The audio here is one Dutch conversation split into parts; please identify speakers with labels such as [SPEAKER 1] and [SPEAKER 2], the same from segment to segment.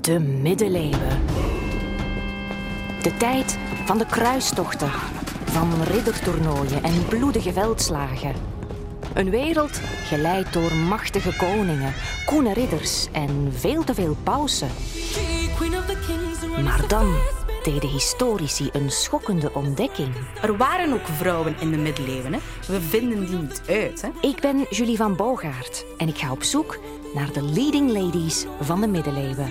[SPEAKER 1] De middeleeuwen. De tijd van de kruistochten, van riddertoernooien en bloedige veldslagen. Een wereld geleid door machtige koningen, koene ridders en veel te veel pausen. Maar dan deden historici een schokkende ontdekking.
[SPEAKER 2] Er waren ook vrouwen in de middeleeuwen. Hè? We vinden die niet uit. Hè?
[SPEAKER 1] Ik ben Julie van Boogaard en ik ga op zoek naar de leading ladies van de middeleeuwen.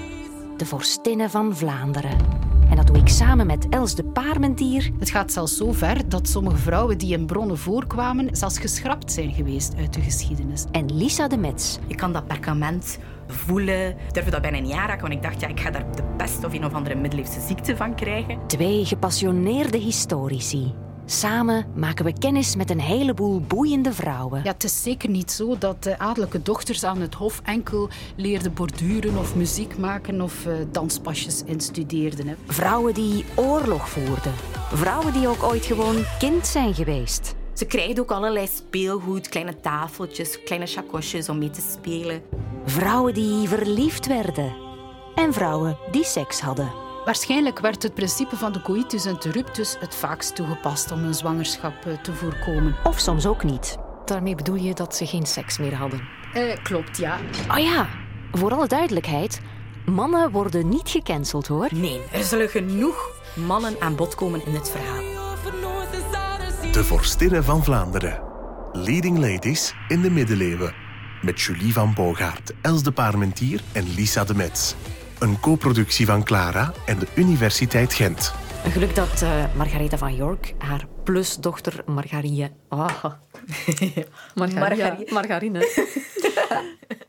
[SPEAKER 1] De vorstinnen van Vlaanderen. En dat doe ik samen met Els de Paarmentier,
[SPEAKER 3] Het gaat zelfs zo ver dat sommige vrouwen die in bronnen voorkwamen zelfs geschrapt zijn geweest uit de geschiedenis.
[SPEAKER 1] en Lisa de Mets.
[SPEAKER 2] Je kan dat perkament voelen. Ik durfde dat bijna niet aanraken, want ik dacht, ja, ik ga daar de pest of een of andere middeleeuwse ziekte van krijgen.
[SPEAKER 1] Twee gepassioneerde historici. Samen maken we kennis met een heleboel boeiende vrouwen.
[SPEAKER 3] Ja, het is zeker niet zo dat de adellijke dochters aan het hof enkel leerden borduren of muziek maken of eh, danspasjes instudeerden. Hè.
[SPEAKER 1] Vrouwen die oorlog voerden. Vrouwen die ook ooit gewoon kind zijn geweest.
[SPEAKER 2] Ze krijgen ook allerlei speelgoed, kleine tafeltjes, kleine chacosjes om mee te spelen.
[SPEAKER 1] Vrouwen die verliefd werden. En vrouwen die seks hadden.
[SPEAKER 3] Waarschijnlijk werd het principe van de coitus interruptus het vaakst toegepast om een zwangerschap eh, te voorkomen.
[SPEAKER 1] Of soms ook niet.
[SPEAKER 4] Daarmee bedoel je dat ze geen seks meer hadden.
[SPEAKER 3] Eh, klopt, ja.
[SPEAKER 1] Oh ja, voor alle duidelijkheid. Mannen worden niet gecanceld hoor.
[SPEAKER 2] Nee, er zullen genoeg mannen aan bod komen in dit verhaal.
[SPEAKER 5] De Vorstinnen van Vlaanderen. Leading Ladies in de Middeleeuwen. Met Julie van Boogaard, Els de Parmentier en Lisa de Metz. Een co-productie van Clara en de Universiteit Gent.
[SPEAKER 4] Een geluk dat eh Margaretha van York haar plusdochter Oh. Margarie... Ah. Margaria-
[SPEAKER 2] Margarie-
[SPEAKER 4] Margarine.